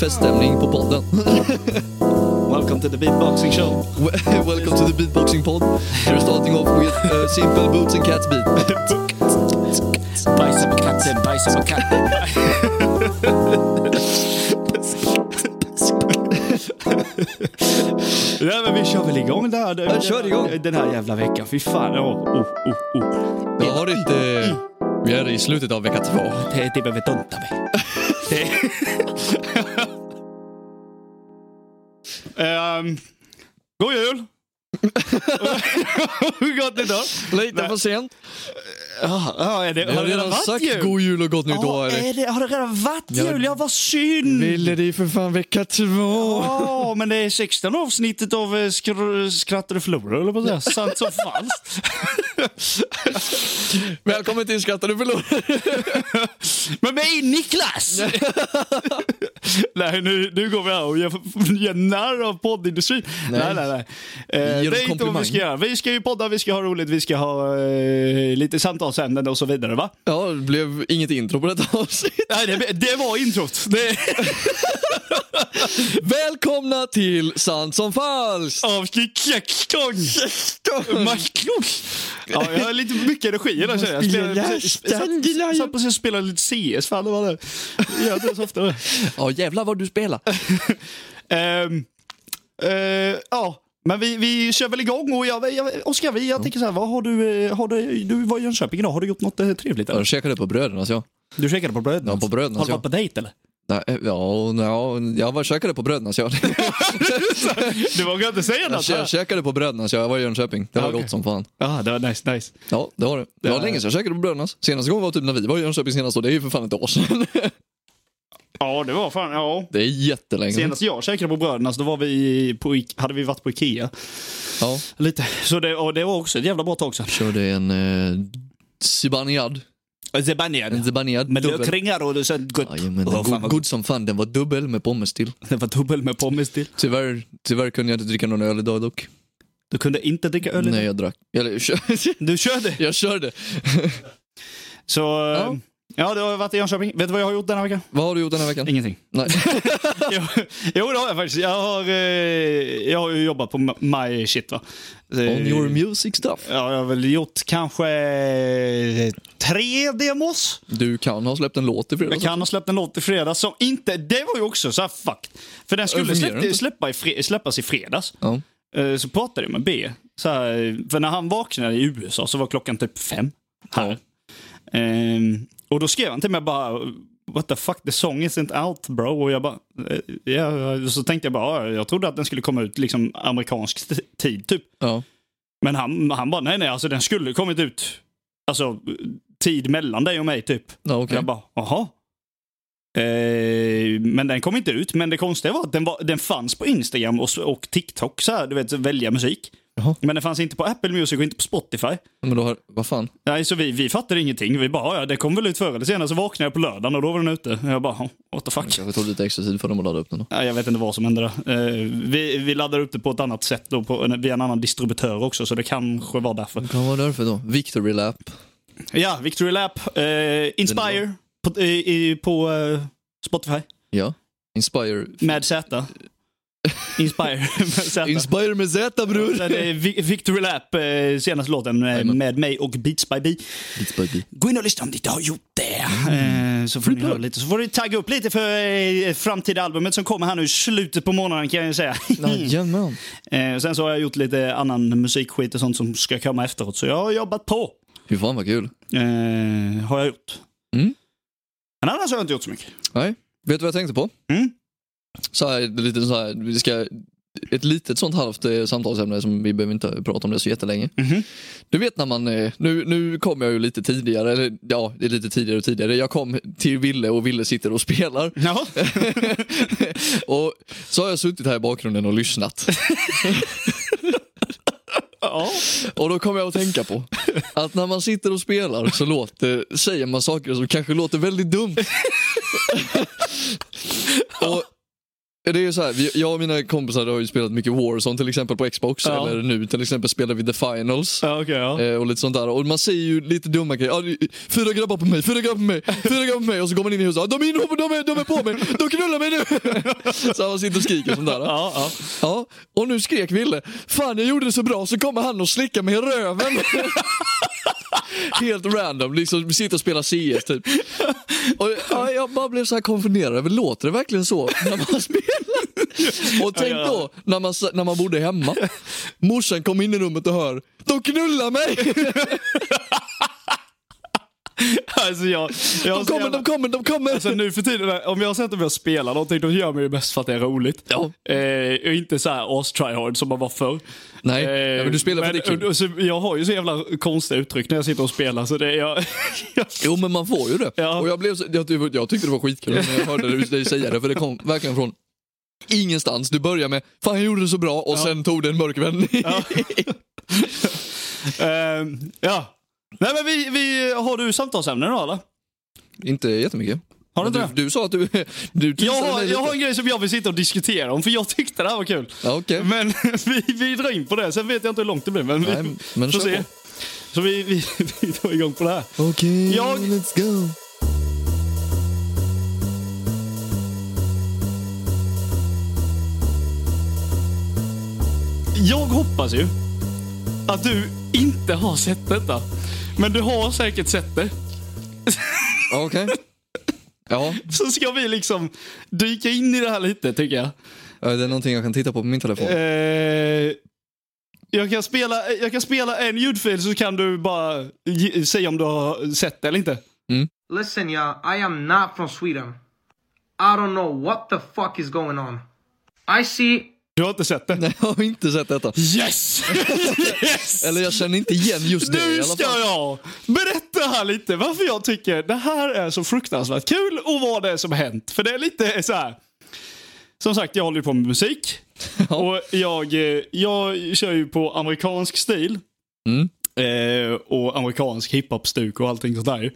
Feststämning på podden. Welcome to the beatboxing show. Welcome to the beatboxing pod. We're starting off with uh, simple boots and cats beat. Bajsa på katten, bajsa på katten. Ja, men vi kör väl igång där. Den, Ja, kör igång. Den här jävla veckan. Fy fan. Oh, oh, oh, oh. Jag har inte... Vi är i slutet av vecka två. Det är typ över dunta mig. Det- Ehm, God jul! Hur gott nytt år! Lite för sent. Ja, ja, är det- Jag Har har det redan redan varit sagt jul? god jul och gott nytt Ja, år. är det- Har det redan varit Ja. jul? Ja, vad synd! Ville det är för fan vecka två. Ja, men det är 16 avsnittet av eh, skr- Skrattar och förlorar, eller på att säga. Sant som falskt. Välkommen till Skrattar du förlorar. Men mig Niklas! nej, nu, nu går vi här och gör, gör narr av poddindustrin. Nej, nej, nej. Eh, Vi gör en det är inte vad vi komplimang. ska göra. Vi ska ju podda, vi ska ha roligt, vi ska ha eh, lite samtalsämnen och så vidare, va? Ja, det blev inget intro på detta avsnitt. Nej, det, det var introt. Det är Välkomna till Sant som falskt. avsnitt 16! Maklok! Ja, jag har lite mycket energi idag känner jag. Jag spelar- satt precis och spelade lite CS, fan det var det. Jag gör inte så ofta. Ja, jävlar vad du spelar. Ehm, eh, ja, men vi, vi kör väl igång. Och jag, jag, Oskar, vi- jag tänker så här, vad har du, eh, har du, du var i Jönköping idag. Har du gjort något eh, trevligt? Jag Eller? käkade på brödernas ja. Du käkade på bröderna? Ja, på alltså, Brödernas, Har du ja. varit på dejt eller? Nej, eh, ja, ja, jag var käkade på brödernas ja. Du vågar inte säga Jag, något? Alltså, jag käkade på brödernas ja, jag var i Jönköping. Det var Ja, okej. gott som fan. Ja, det var nice, nice. Ja, det har det. Det var Ja. länge sedan jag käkade på Brödernas. Senaste gången var typ när vi var i Jönköping senast och det är ju för fan ett år sedan. Ja, det var fan, ja. Det är jättelänge sedan. Senast jag käkade på brödernas, då var vi på, I- hade vi varit på Ikea. Ja, Lite. Så det, och det var också ett jävla bra tag sedan. körde en eh, zibanejad. En Zebanien. zibanejad. Med dubbel. lökringar och så gott. Jajamän, Åh, den fan god, vad god som fan. Den var dubbel med pommes till. gott. Det var dubbel med pommes till. Tyvärr, tyvärr kunde jag inte dricka någon öl idag dock. Du kunde inte dricka öl. Nej, jag drack. Eller, jag körde. Du körde. Jag körde. Så ja. ja, det har varit i Jönköping. Vet du vad jag har gjort den här veckan? Vad har du gjort den här veckan? Ingenting. Nej. jo, jo, det har jag faktiskt. Jag har, eh, jag har ju jobbat på m- my shit va. Eh, On your music stuff. Ja, jag har väl gjort kanske eh, tre demos. Du kan ha släppt en låt i Jag fredags. kan ha släppt en låt i fredags som inte, det var ju också så här fuck. För den skulle Den fungerar släppa, inte. släppa i fre, släppas i fredags. Ja. Eh, Så pratade jag med B. Så här, för när han vaknade i USA så var klockan typ fem. Här. Ehm, och då skrev han till mig bara What the fuck, the song isn't out bro. Och jag bara, eh, ja, så tänkte jag bara, ja, jag trodde att den skulle komma ut liksom amerikansk t- tid typ. ja. Men han, han bara, nej nej, alltså den skulle kommit ut, alltså tid mellan dig och mig typ. ja okej. Jag bara, jaha. Eh, men den kom inte ut. Men det konstiga var att den, var, den fanns på Instagram och, och TikTok, så här, du vet, så välja musik. Jaha. Men den fanns inte på Apple Music och inte på Spotify. Men då har... Vad fan? Nej, så vi, vi fattade ingenting. Vi bara, ja, det kom väl ut förr eller senare. Så vaknade jag på lördagen och då var den ute. Jag bara, "Ja, what the fuck. Kanske tog lite extra tid för dem att ladda upp den då. Ja, jag vet inte vad som hände där. Eh, vi, vi laddade upp det på ett annat sätt då, på, en- via en annan distributör också, så det kanske var därför. Kan vara därför då. Victory lap. Ja, Victory Lap, eh, Inspire, på, i, i, på eh, Spotify. Ja. Inspire. Med Z. Inspire. med Z. Inspire med Z bror! Sen är Vi- Victory Lap, eh, senaste låten eh, Jajamän. med mig och Beats by Bee. Gå in och lyssna om ni inte har gjort det. Mm. Eh, Så får ni höra lite. Så får ni tagga upp lite för eh, framtida albumet som kommer här nu i slutet på månaden kan jag ju säga. Jajamän. Eh, Sen så har jag gjort lite annan musikskit och sånt som ska komma efteråt. Så jag har jobbat på. Fy fan vad kul. Eh, Har jag gjort. Mm. Men annars har jag inte gjort så mycket. Nej. Vet du vad jag tänkte på? Mm. Så här, lite så här, vi ska, ett litet sånt halvt eh, samtalsämne som vi behöver inte prata om det så jättelänge. Mhm. Du vet när man, eh, nu, nu kom jag ju lite tidigare, eller ja, det är lite tidigare och tidigare. Jag kom till Ville och Ville sitter och spelar. Ja. och så har jag suttit här i bakgrunden och lyssnat. ja. Och då kommer jag att tänka på att när man sitter och spelar så låter, säger man saker som kanske låter väldigt dumt. och Det är ju så här, vi- jag och mina kompisar har ju spelat mycket Warzone till exempel på Xbox. Ja. Eller nu till exempel spelar vi The Finals. Ja, okej. ja. Eh, Och lite sånt där. Och man ser ju lite dumma grejer. Ja, det- Fyra grabbar på mig, fyra grabbar på mig, fyra grabbar på mig. Och så går man in i huset. Ja, De är, inne på- de är, de är på mig, de knullar mig nu. Så man sitter och skriker och sånt där. Ja, ja. Ja, och nu skrek Ville. Fan jag gjorde det så bra så kommer han och slickar mig i röven. Helt random, liksom sitter och spelar CS typ. Och, ja, jag bara blev så här konfunderad över, låter det verkligen så när man spelar? Och tänk då när man, s- när man bodde hemma. Morsan kom in i rummet och hör, de knullar mig! Alltså jag, jag har De så kommer, jävla- de kommer, de kommer! Alltså nu för tiden, om jag har sett dem jag spela någonting, de gör mig ju mest för att det är roligt. Ja. Eh, och inte så här as-tryhard som man var förr. Eh, Nej, ja, men du spelar för att det är kul. och- och så, Jag har ju så jävla konstiga uttryck när jag sitter och spelar, så det är jag... Jo men man får ju det. Ja. Och jag, blev så, jag, jag tyckte det var skitkul när jag hörde dig säga det för det kom verkligen från ingenstans. Du börjar med “Fan jag gjorde det så bra” och sen tog det en mörk vändning. Ehm, ja. Nej men vi, vi, har du samtalsämnen då eller? inte jättemycket. Har du Men inte du, det? du sa att du... du Jag teasade har, mig jag lite. har en grej som jag vill sitta och diskutera om, för jag tyckte det här var kul. Ja, okej. Men vi, vi drar in på det, sen vet jag inte hur långt det blir. Men vi Nej, men får kör se. på. Så vi, vi, vi drar igång på det här. Okej, Jag- let's go. Jag hoppas ju att du inte har sett detta. Men du har säkert sett det. Okej. Ja, Så ska vi liksom dyka in i det här lite tycker jag. det är någonting jag kan titta på på min telefon. Eh, jag, kan spela, jag kan spela en ljudfil så kan du bara ge, säga om du har sett det eller inte. Listen, y'all, I am not from Sweden. I don't know what the fuck is going on. I see Du har inte sett det? Nej, jag har inte sett detta. Yes! yes! Eller jag känner inte igen just det i Nu alla ska fall. jag berätta här lite varför jag tycker det här är så fruktansvärt kul och vad det är som har hänt. För det är lite så här. Som sagt, jag håller ju på med musik. Och jag, eh, jag kör ju på amerikansk stil. Mm. Eh, och amerikansk hiphop-stuk och allting sånt där. ju.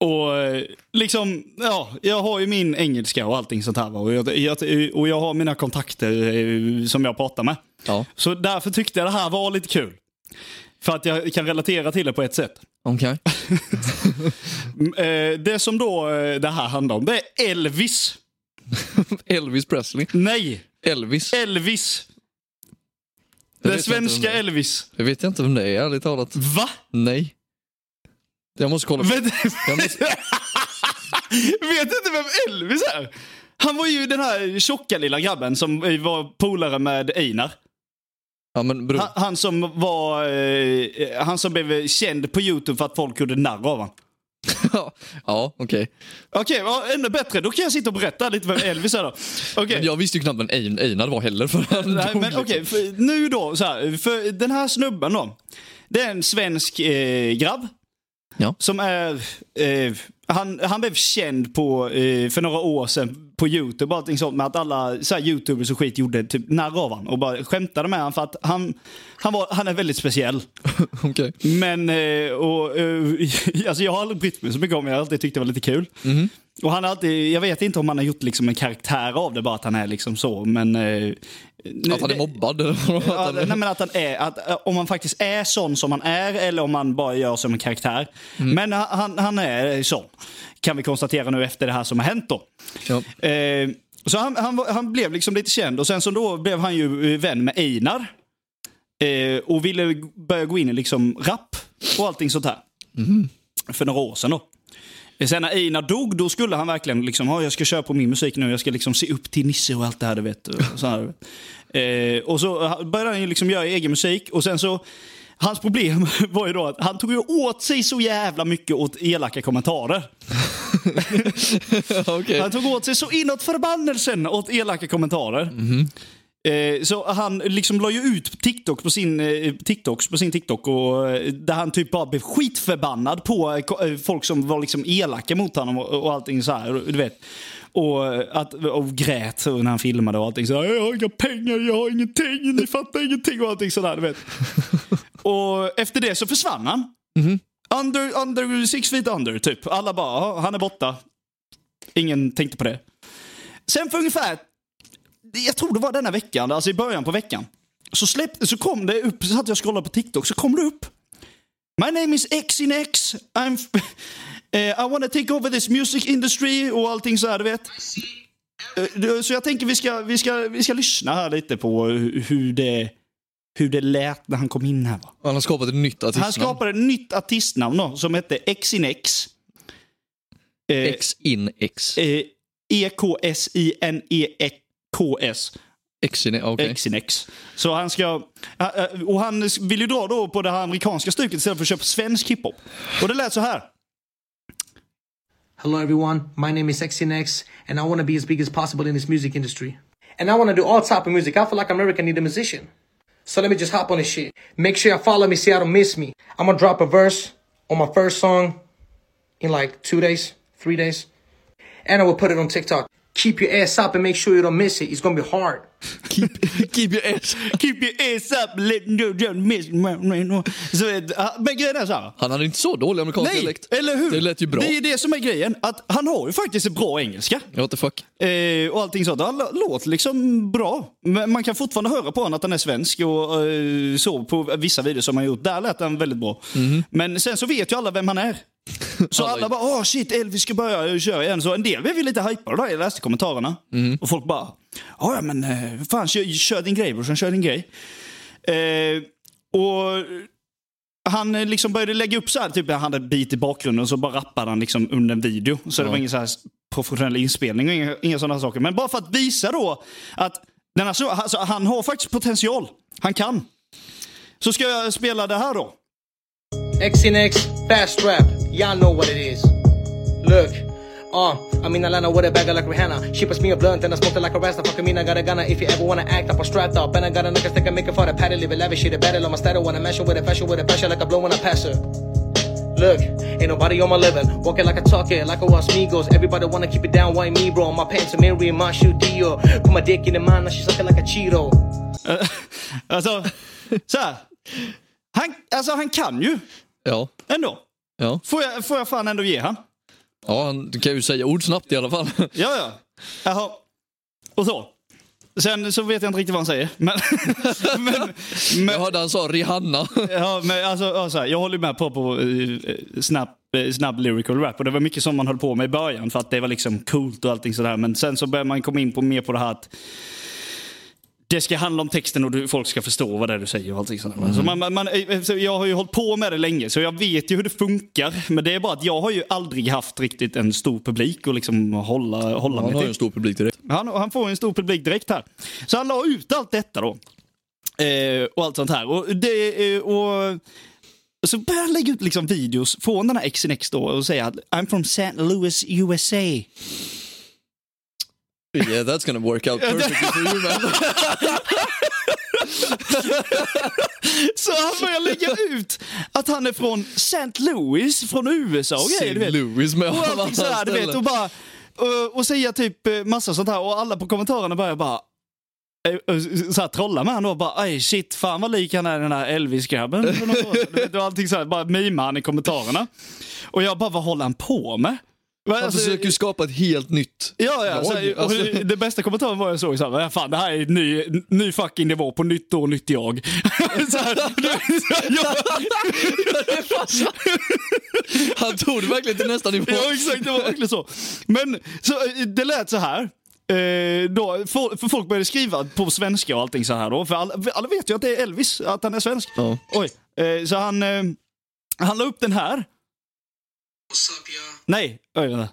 Och eh, liksom, ja, jag har ju min engelska och allting sånt här. va. Och jag, jag, och jag har mina kontakter eh, som jag pratar med. Ja, Så därför tyckte jag det här var lite kul. För att jag kan relatera till det på ett sätt. okej. Mm, eh, Det som då eh, det här handlar om, det är Elvis. Elvis Presley. Nej, Elvis. Elvis. Det Den vet jag inte vem svenska det är. Elvis. Jag vet inte vem det är, ärligt talat. Va? Nej. Jag måste kolla. Vet, Jag måste... vet du inte vem Elvis är? Han var ju den här tjocka lilla grabben som eh, var polare med Einar. Ja men bror, Han, han som var... eh, Han som blev känd på YouTube för att folk gjorde narr av honom. ja okej. Okej, okay, ännu bättre. Då kan jag sitta och berätta lite vem Elvis är då. Okej. Men Jag visste ju knappt vem Ein- Einar var heller för han Nej, dog men liksom. okej, för nu då. Så här, för den här snubben då. Det är en svensk eh, grabb. Ja. Som är... Eh, han, han blev känd på, eh, för några år sedan på YouTube och allting sånt med att alla så här, youtubers och skit gjorde typ narr av honom och bara skämtade med honom för att han, han, var, han är väldigt speciell. liksom. Okej. Men eh, och, eh, alltså jag har aldrig brytt mig så mycket om det. Jag har alltid tyckt det var lite kul. Och han har alltid, jag vet inte om han har gjort liksom en karaktär av det, bara att han är liksom så. Men, eh, Att han är mobbad eller vad Ja, han nej, men att han är, att, eh, om han faktiskt är sån som han är eller om han bara gör som en karaktär. Men han- han, han är sån, kan vi konstatera nu efter det här som har hänt då. Ja. Eh, så han, han, var- han blev liksom lite känd och sen så då blev han ju eh, vän med Einar. Eh, och ville g- börja gå in i liksom rap och allting sånt här. För några år sedan då. Eh, Sen när Einar dog, då skulle han verkligen liksom, "Ja, jag ska köra på min musik nu, jag ska liksom se upp till Nisse och allt det här, du vet. Och så, här. Eh, och så ha- började han ju liksom göra egen musik och sen så, hans problem var ju då att han tog ju åt sig så jävla mycket åt elaka kommentarer. Okej. Han tog åt sig så inåt förbannelsen åt elaka kommentarer. Eh, Så han liksom la ju ut TikTok på sin, eh, TikToks på sin TikTok och eh, där han typ bara blev skitförbannad på eh, ko- eh, folk som var liksom elaka mot honom och och allting så här, du vet. Och, eh, att, och grät så när han filmade och allting så här, Jag har inga pengar, jag har ingenting, ni fattar ingenting och allting sådär, du vet. och efter det så försvann han. Under, under, six feet under typ. Alla bara, "Ja, han är borta. Ingen tänkte på det. Sen för ungefär jag tror det var denna veckan, alltså i början på veckan. Så, släppte, så kom det upp, så satt jag och scrollade på TikTok, så kom det upp. My name is X in X. I'm f- eh, I wanna take over this music industry och allting så här, du vet. Eh, du- Så jag tänker vi ska, vi ska, vi ska lyssna här lite på hu- hur det, hur det lät när han kom in här. Va? Han har skapat ett nytt artistnamn. Han skapade ett nytt artistnamn då, som hette X in X. Eh, X in X. eh, E-K-S-I-N-E-K-S. X in okej. Exinex. Så han ska... eh, eh, Och han vill ju dra då på det här amerikanska stuket istället för att köpa svensk hiphop. Och det lät så här. Hello, everyone. My name is XNX, and I want to be as big as possible in this music industry. And I want to do all type of music. I feel like I'm American need a musician. So let me just hop on this shit. Make sure y'all follow me, so y'all don't miss me. I'm gonna drop a verse on my first song in like two days, three days, and I will put it on TikTok. Keep your ass up and make sure you don't miss it. It's gonna be hard. Keep your ass. Keep your ass up, let no don't miss my- my- Så, eh, Men grejen är så här. Han hade inte så dålig amerikansk Nej, dialekt. eller hur? Det lät ju bra. Det är det som är grejen. Att han har ju faktiskt bra engelska. What the fuck? Eh, och allting sånt. Han lå- låter liksom bra. Men man kan fortfarande höra på honom att han är svensk och eh, så på vissa videos som han gjort. Där lät han väldigt bra. Men sen så vet ju alla vem han är. Så alla bara åh shit Elvis ska börja köra igen. Så en del blev ju lite hypade där. Jag läste kommentarerna. Och folk bara "Ja, ja men eh, fan kör, kör din grej brorsan, kör din grej. Eh, och han eh, liksom började lägga upp så här, typ han hade en bit i bakgrunden och så bara rappade han liksom under en video. Så det var ingen så här professionell inspelning och inga, inga sådana saker. Men bara för att visa då att den här, så- alltså, han har faktiskt potential. Han kan. Så ska jag spela det här då. XNX, fast rap, y'all know what it is. Look, uh, I'm in Atlanta with a bagger like Rihanna. She puts me a blunt and I smoke it like a rasta. Fucking mean, I got a gunna. If you ever wanna act up, I'm strapped up. And I got a nigga stick and make it for the patty, live it lavish. Shit, a battle on my style. Wanna measure with a fashion, with a passion, like a blow when I pass her. Look, ain't nobody on my level. Walking like a talker, like I was Migos. Everybody wanna keep it down, why me, bro? My pants are Mary and my shoe Dio. Put my dick in the mine, now she's sucking like a Cheeto. Eh, alltså, så här. Han, alltså han kan ju Ja. ändå. Ja. Får jag, får jag fan ändå ge han. ja, han kan ju säga ord snabbt i alla fall. Ja, ja. Jaha. Och så. Sen så vet jag inte riktigt vad han säger. Men, men, men, Jag hörde han sa Rihanna. Ja, men alltså, ja, så här, jag håller med på, på eh, snabb, eh, snabb lyrical rap. Och det var mycket som man höll på med i början för att det var liksom coolt och allting sådär. Men sen så började man komma in på mer på det här att det ska handla om texten och du, folk ska förstå vad det är du säger och allting sådär. Så man, man, man, eh, så jag har ju hållit på med det länge så jag vet ju hur det funkar. Men det är bara att jag har ju aldrig haft riktigt en stor publik och liksom hålla, hålla Han mig har ju till. en stor publik direkt. Han, han får en stor publik direkt här. Så han la ut allt detta då. Eh, och allt sånt här. Och, det, eh, och så började han lägga ut liksom videos från den här XNX då och säga att I'm from St. Louis, USA. Yeah, that's gonna work out perfectly for you man. Så han började lägga ut att han är från St. Louis, från USA och grejer, du St. vet. Louis med Och alla allting så här, du vet. Och, ställen. bara, och, och säga typ eh, massa sånt här. Och alla på kommentarerna börjar bara eh, eh, så här, trolla med honom och bara aj shit, fan vad lik han är den här Elvis-grabben. för något år sedan." Du vet, och allting så här, bara mimar han i kommentarerna. Och jag bara, vad håller han på med? Men Han alltså, försöker ju skapa ett helt nytt Ja, ja. drag, Så här, alltså. och det bästa kommentaren var jag såg så här, "Men fan det här är en ny, ny fucking nivå på nytt år, nytt jag. så här, du- så här, jag Han tog det verkligen till nästa nivå. Ja, exakt. Det var verkligen så. Men så, eh, det lät så här. Eh, då, for, för folk började skriva på svenska och allting så här då. För alla, för alla vet ju att det är Elvis, att han är svensk. Ja. Oj. Eh, så han, eh, han la upp den här. Nej, oj vänta. Eh,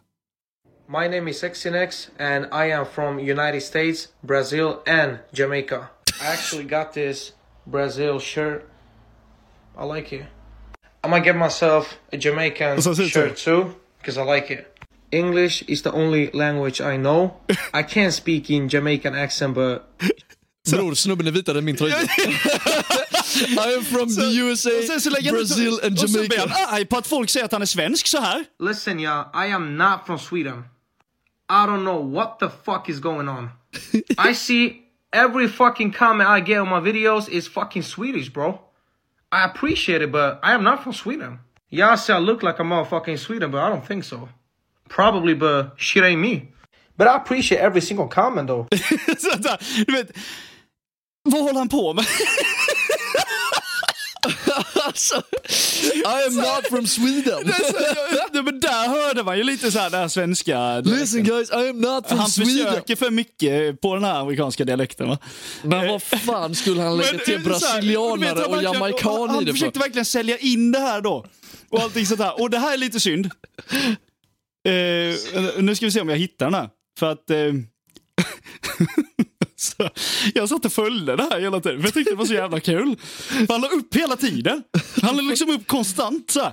My name is Exinex, and I am from United States, Brazil, and Jamaica. I actually got this Brazil shirt. I like it. I'm gonna get myself a Jamaican Så ser det ut. shirt too, because I like it. English is the only language I know. I can speak in Jamaican accent, but Bror, snubben är vitare än min tröja. I am from the USA, Och sen så lägger han ut- Brazil and Och så blir Jamaica. han arg på att folk säger att han är svensk så här. listen, y'all, I am not from Sweden. I don't know what the fuck is going on. I see every fucking comment I get on my videos is fucking Swedish, bro. I appreciate it, but I am not from Sweden. Y'all say I look like a motherfucking Sweden, but I don't think so. Probably, but shit ain't me. But I appreciate every single comment though. Så att, du vet, vad håller han på med? Alltså, I am not from Sweden. Alltså, jag- nej, men där hörde man ju lite så här, det här svenska. Listen guys, I am not from han Sweden. försöker för mycket på den här amerikanska dialekten. Va? Men vad fan skulle han lägga till eh, så här, du vet, brasilianare han och verkligen- jamaican Han i det för? försökte verkligen sälja in det här då. Och allting sånt här. Och det här är lite synd. Eh, nu ska vi se om jag hittar den här. För att... Eh, så, jag satt och följde det här hela tiden. För jag tyckte det var så jävla kul. För Han la upp hela tiden. Han la liksom upp konstant så här.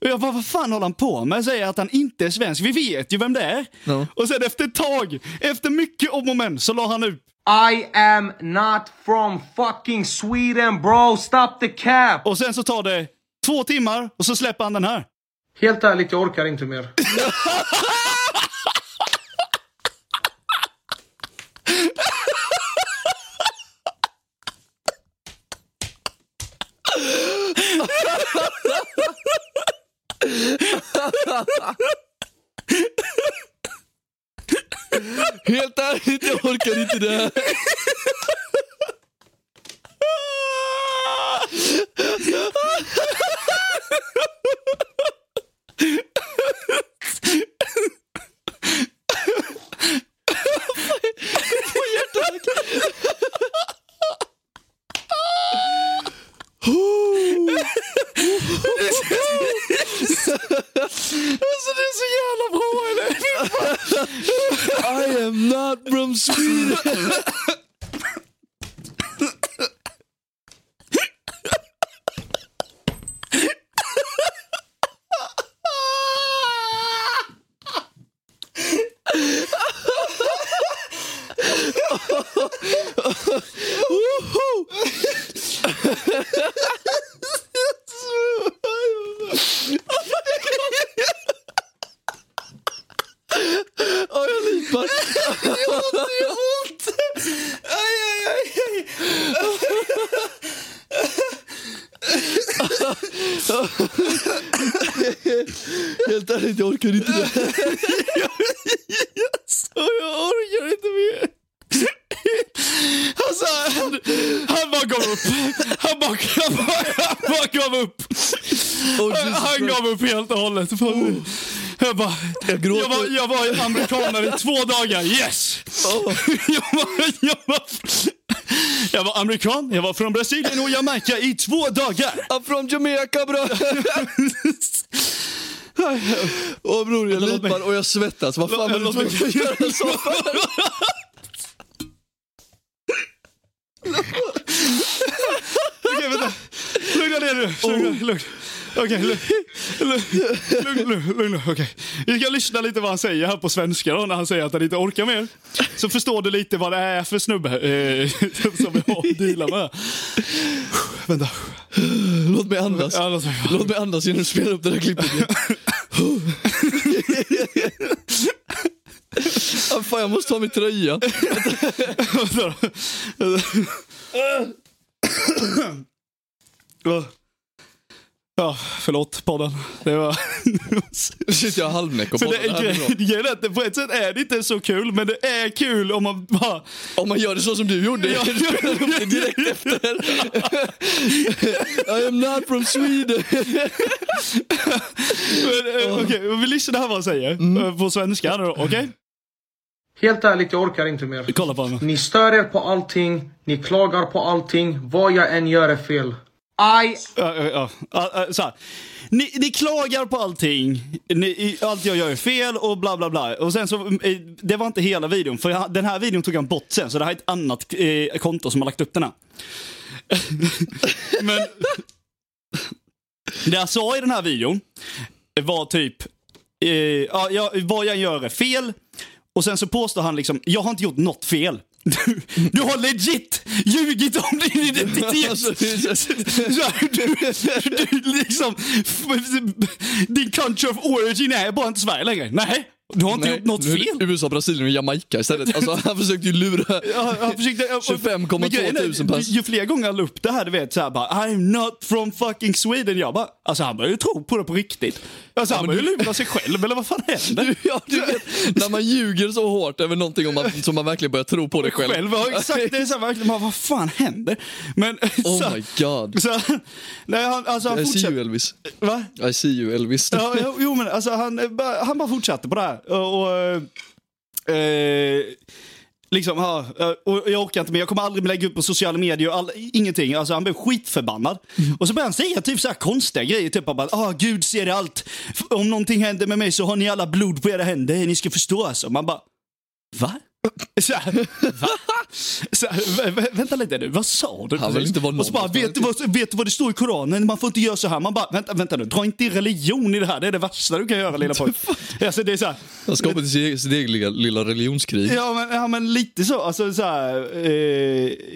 Och jag bara, vad fan håller han på med? Säger att han inte är svensk. Vi vet ju vem det är. Ja. Och sen efter ett tag, efter mycket om och men, så la han upp I am not from fucking Sweden bro, stop the cap! Och sen så tar det två timmar och så släpper han den här. Helt ärligt, jag orkar inte mer. Helt ärligt, jag orkar inte det här. Alltså det är så jävla bra eller? I am not from Sweden. Ja, jag lipar. Helt ärligt, jag orkar inte det här. Och jag orkar inte mer. Alltså, han, han bara gav upp. Han bara, han bara, han bara gav upp. Oh, Han, Jesus han Christ. gav upp helt och hållet. Fan. Jag bara, jag, gråter. var, jag var amerikanare i två dagar, yes! Jag, var, jag, var, jag var amerikan, jag var från Brasilien och Jamaica i två dagar. I'm from Jamaica bror. Åh bror, jag Låt mig- lipar och jag svettas. Vad fan var du Låt mig- tvungen att göra så för? Okej, vänta. Lugna ner nu. Oh. Lugna, lugn. Okej, lugn. Lugn, lugn, lugn, lugn. Okej. Vi ska lyssna lite vad han säger här på svenska då, när han säger att han inte orkar mer. Så förstår du lite vad det är för snubbe eh, som vi har att deala med. Vänta. Låt mig andas. Ja, låt mig. Låt mig andas innan du spelar upp det där klippet igen. Ah, Fan, jag måste ta min tröja. Vänta då. Vänta. Ja, förlåt podden. Det var... Shit, jag har halvnäck och För podden. det Det här blir bra. är grejen är att det på ett sätt är det inte så kul, men det är kul om man bara... Om man gör det så som du gjorde. Ja. Du spelar upp det direkt efter. I am not from Sweden. Men, eh, Okej, vi lyssnar här vad han säger. Eh, På svenska då, okej? Helt ärligt, jag orkar inte mer. Kolla på honom. Ni stör er på allting, ni klagar på allting, vad jag än gör är fel. I... Ja, ja, ja. Ja, ja, så här. Ni, ni klagar på allting, ni, i- allt jag gör är fel och bla bla bla. Och sen så, eh, det var inte hela videon, för jag, den här videon tog han bort sen, så det här är ett annat eh, konto som har lagt upp den här. Men det jag sa i den här videon var typ, eh, ja, ja, vad jag gör är fel. Och sen så påstår han liksom, jag har inte gjort något fel. Du, du har legit ljugit om din identitet. Alltså, det är så- Så här, du, du liksom, din country of origin är bara inte Sverige längre. Nej, Du har inte Nej, gjort något nu är det fel. USA, Brasilien och Jamaica istället. Alltså, han försökte ju lura... Ja, han försökte- 25,2 Men grejen är, 000 pass. Ju fler gånger han la upp det här, du vet såhär bara I'm not from fucking Sweden. Jag bara, alltså han börjar ju tro på det på riktigt. Alltså han börjar ju lura sig själv eller vad fan händer? Ja, du vet, när man ljuger så hårt över någonting om man, som man verkligen börjar tro på det själv. själv. Ja, exakt. Det är så här, verkligen, man, vad fan händer? Men Oh så, my god. Så, nej, han, alltså han I see you fortsätter. Elvis. Va? I see you Elvis. Ja, jo, jo, men alltså han, eh, bara- han bara fortsatte på det här. Och, och, eh, liksom, ja, eh, och jag orkar inte mer. Jag kommer aldrig mer lägga upp på sociala medier. All, ingenting. Alltså han blev skitförbannad. Och så började han säga typ så här konstiga grejer. Typ bara, ah gud ser allt. F- Om någonting händer med mig så har ni alla blod på era händer. Ni ska förstå alltså. Man bara, va? Så här, va? Så här, vä- vä- vänta lite nu, vad sa du? Han vill precis? inte vara någon och så bara, någonstans. vet du, vad, vet du vad det står i Koranen? Man får inte göra så här. Man bara, vänta, vänta nu, dra inte in religion i det här. Det är det värsta du kan göra lilla pojk. Alltså, det är så här, Han skapade sitt sitt eget lilla, lilla religionskrig. ja, men, ja men lite så. Alltså, så här, eh,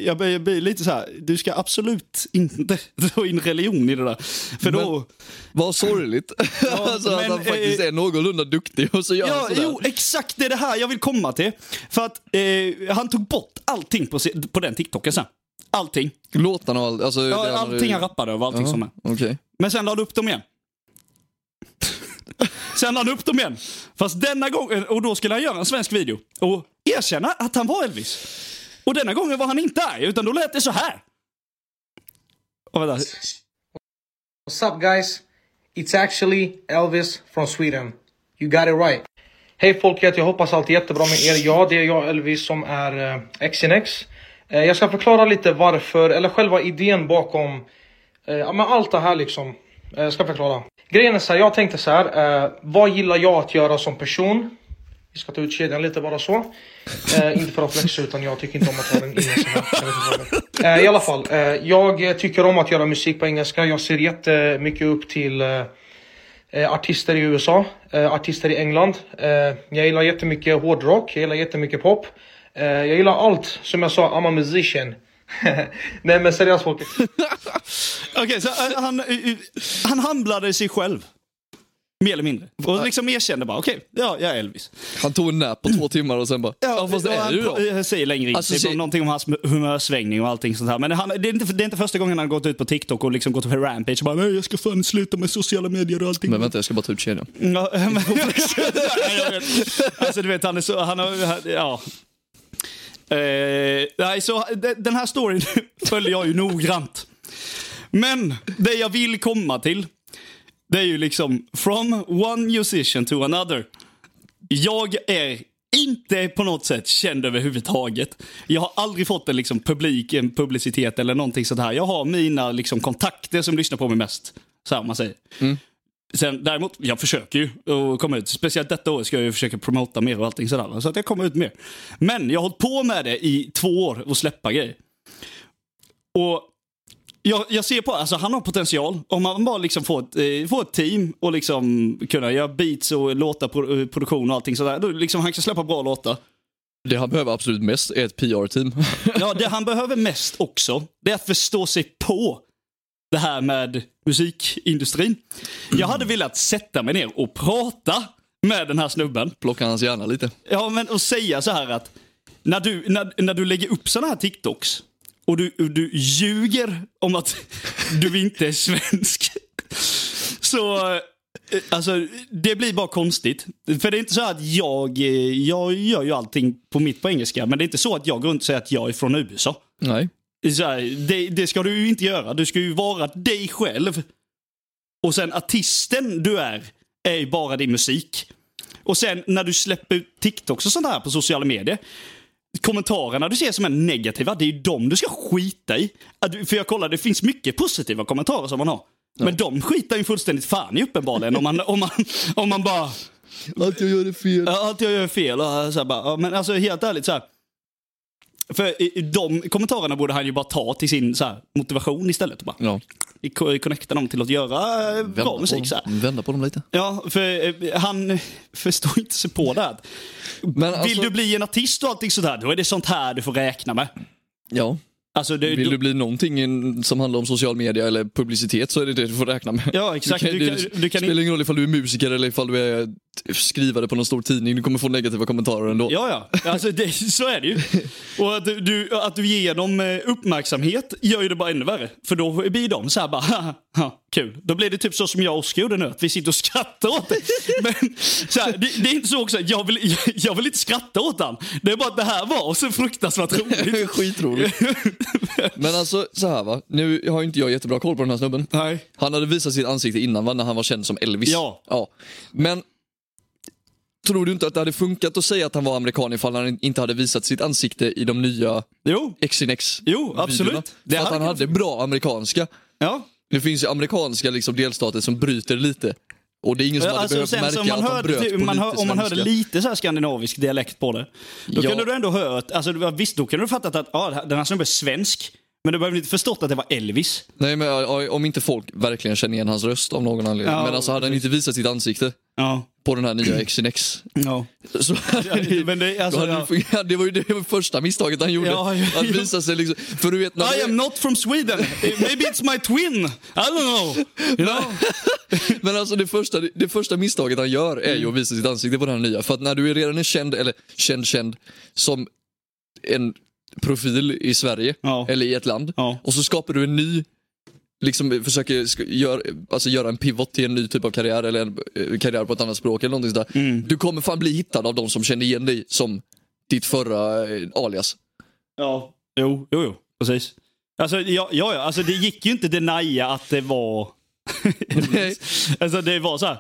jag blir- jag blir lite så här, du ska absolut inte dra in religion i det där. För då... Vad sorgligt. alltså, men, att han faktiskt eh, är någorlunda duktig och så gör han Ja, sådär. jo, exakt. Det är det här jag vill komma till. För att eh, han tog bort allting på, se- på den TikToken sen. Allting. Låtarna och allt. Alltså, Ja, det han- allting han rappade över, allting som är. liksom. Okej. Men sen la han upp dem igen. sen la han upp dem igen. Fast denna gången, och då skulle han göra en svensk video. Och erkänna att han var Elvis. Och denna gången var han inte arg, utan då lät det så här. Och vänta. What's up, guys? It's actually Elvis from Sweden. You got it right. Hej folket, jag hoppas allt är jättebra med er. Ja, det är jag Elvis som är eh, XNX. Eh, jag ska förklara lite varför, eller själva idén bakom eh, ja, men allt det här liksom. Eh, jag ska förklara. Grejen är så här, jag tänkte så här. Eh, vad gillar jag att göra som person? Vi ska ta ut kedjan lite bara så. Eh, inte för att flexa utan jag tycker inte om att ha den inne så här. Jag vet inte vad det är. Eh, I alla fall, eh, jag tycker om att göra musik på engelska. Jag ser jättemycket upp till eh, eh, artister i USA, eh, artister i England. Eh, jag gillar jättemycket hårdrock, jag gillar jättemycket pop. Eh, jag gillar allt, som jag sa, I'm a musician. Nej men seriöst folket. Okej, så eh, han, eh, han handlade sig själv. Mer eller mindre. Och liksom erkände bara, okej, ja, jag är Elvis. Han tog en nap på två timmar och sen bara, ja, fast det och är han du då. pra- Jag säger längre in, Alltså, typ se- om någonting om hans humörsvängning och allting sånt här. Men han, det, är inte, det är inte första gången han har gått ut på TikTok och liksom gått på rampage och bara nej jag ska fan sluta med sociala medier och allting. Men vänta, jag ska bara ta ut kedjan. Ja, men, jag vet. Alltså du vet, han är så, han har, han- ja. Eh, nej, så de- den här storyn följer jag ju noggrant. Men det jag vill komma till, det är ju liksom from one musician to another. Jag är inte på något sätt känd överhuvudtaget. Jag har aldrig fått en liksom publik, en publicitet eller någonting sånt här. Jag har mina liksom kontakter som lyssnar på mig mest. Så här man säger. Sen, däremot, jag försöker ju att komma ut. Speciellt detta år ska jag ju försöka promota mer och allting sådär. Så att jag kommer ut mer. Men jag har hållit på med det i två år och släppa grejer. Och jag, jag ser på, alltså han har potential. Om man bara liksom får ett, eh, får ett team och liksom kunna göra beats och låtar, pro, eh, produktion och allting sådär. Då liksom han kan släppa bra låtar. Det han behöver absolut mest är ett PR-team. Ja, det han behöver mest också, det är att förstå sig på det här med musikindustrin. Jag hade velat sätta mig ner och prata med den här snubben. Plocka hans hjärna lite. Ja, men och säga så här att när du, när, när du lägger upp sådana här TikToks och du, och du ljuger om att du inte är svensk. Så eh, alltså, det blir bara konstigt. För det är inte så att jag, eh, jag gör ju allting på mitt på engelska, men det är inte så att jag går runt och säger att jag är från USA. Nej. Så här, det, det ska du ju inte göra. Du ska ju vara dig själv. Och sen artisten du är, är ju bara din musik. Och sen när du släpper ut TikToks och sånt här på sociala medier. Kommentarerna du ser som är negativa, det är ju de du ska skita i. Att du- För jag kollar, det finns mycket positiva kommentarer som man har. Men de skitar ju fullständigt fan i uppenbarligen om man, om man, om man bara... Att jag gör det fel. Ja, Allt jag gör är fel. Och så här bara, ja, men alltså helt ärligt så här. För i- i de kommentarerna borde han ju bara ta till sin så här, motivation istället. och Bara, Ja, i- co- Connecta dem till att göra eh, vända, bra på musik. Så här. dem. vända på dem lite. Ja, för eh, han förstår inte sig på det. här. Men alltså, Vill du bli en artist och allting sånt här, då är det sånt här du får räkna med. ja. Alltså, det, Vill du bli någonting in- som handlar om social media eller publicitet så är det det du får räkna med. Ja, exakt. Du kan, Du du kan- du kan spelar ingen roll ifall du är musiker eller ifall du är t- skriva det på någon stor tidning, du kommer få negativa kommentarer ändå. Ja, ja. Alltså, det, så är det ju. Och att du, att du ger dem eh, uppmärksamhet gör ju det bara ännu värre. För då blir de så här bara, "Haha, ha, kul. Då blir det typ så som jag och Oskar gjorde nu, att vi sitter och skrattar åt det. Men så här, det, det är inte så också, jag vill, jag, jag vill inte skratta åt han. Det är bara att det här var så fruktansvärt roligt. Skitroligt. Men alltså så här va, nu har ju inte jag jättebra koll på den här snubben. Nej. Han hade visat sitt ansikte innan va, när han var känd som Elvis. Ja. ja. Men tror du inte att det hade funkat att säga att han var amerikan ifall han inte hade visat sitt ansikte i de nya Jo, Xenex? jo videorna? absolut. För att han hade bra amerikanska. Ja. Det finns ju amerikanska liksom, delstater som bryter lite. Och det är ingen som hade Alltså, behövt sen, så märka om man att han hörde, bröt typ- på man lite hör, Om man hörde svenska. lite så här skandinavisk dialekt på det, då Ja. kunde du ändå höra att, alltså, det var- visst då kunde du fattat att ah, den här snubben är svensk, men du behövde inte förstått att det var Elvis. Nej, men, ja, om inte folk verkligen känner igen hans röst av någon anledning. Ja, men alltså hade han inte visat sitt ansikte Ja. på den här nya Xenex ja. så Men det, Då alltså, hade det, ja. fungerat. det var ju det första misstaget han gjorde. Ja, ja, att ja. visa sig liksom, för du vet när I am not from Sweden. Maybe it's my twin. I don't know. You know? Men alltså det första, det första misstaget han gör är ju att visa sitt ansikte på den här nya. För att när du är redan är känd, eller känd känd, som en profil i Sverige Ja. eller i ett land Ja. och så skapar du en ny Liksom försöker sk- gör, alltså göra en pivot till en ny typ av karriär eller en eh, karriär på ett annat språk eller någonting sådär. Mm. Du kommer fan bli hittad av de som känner igen dig som ditt förra eh, alias. Ja. Jo, jo, jo. Precis. Alltså, ja, ja, ja. Alltså, det gick ju inte att denia att det var Elvis. Alltså, det var så här.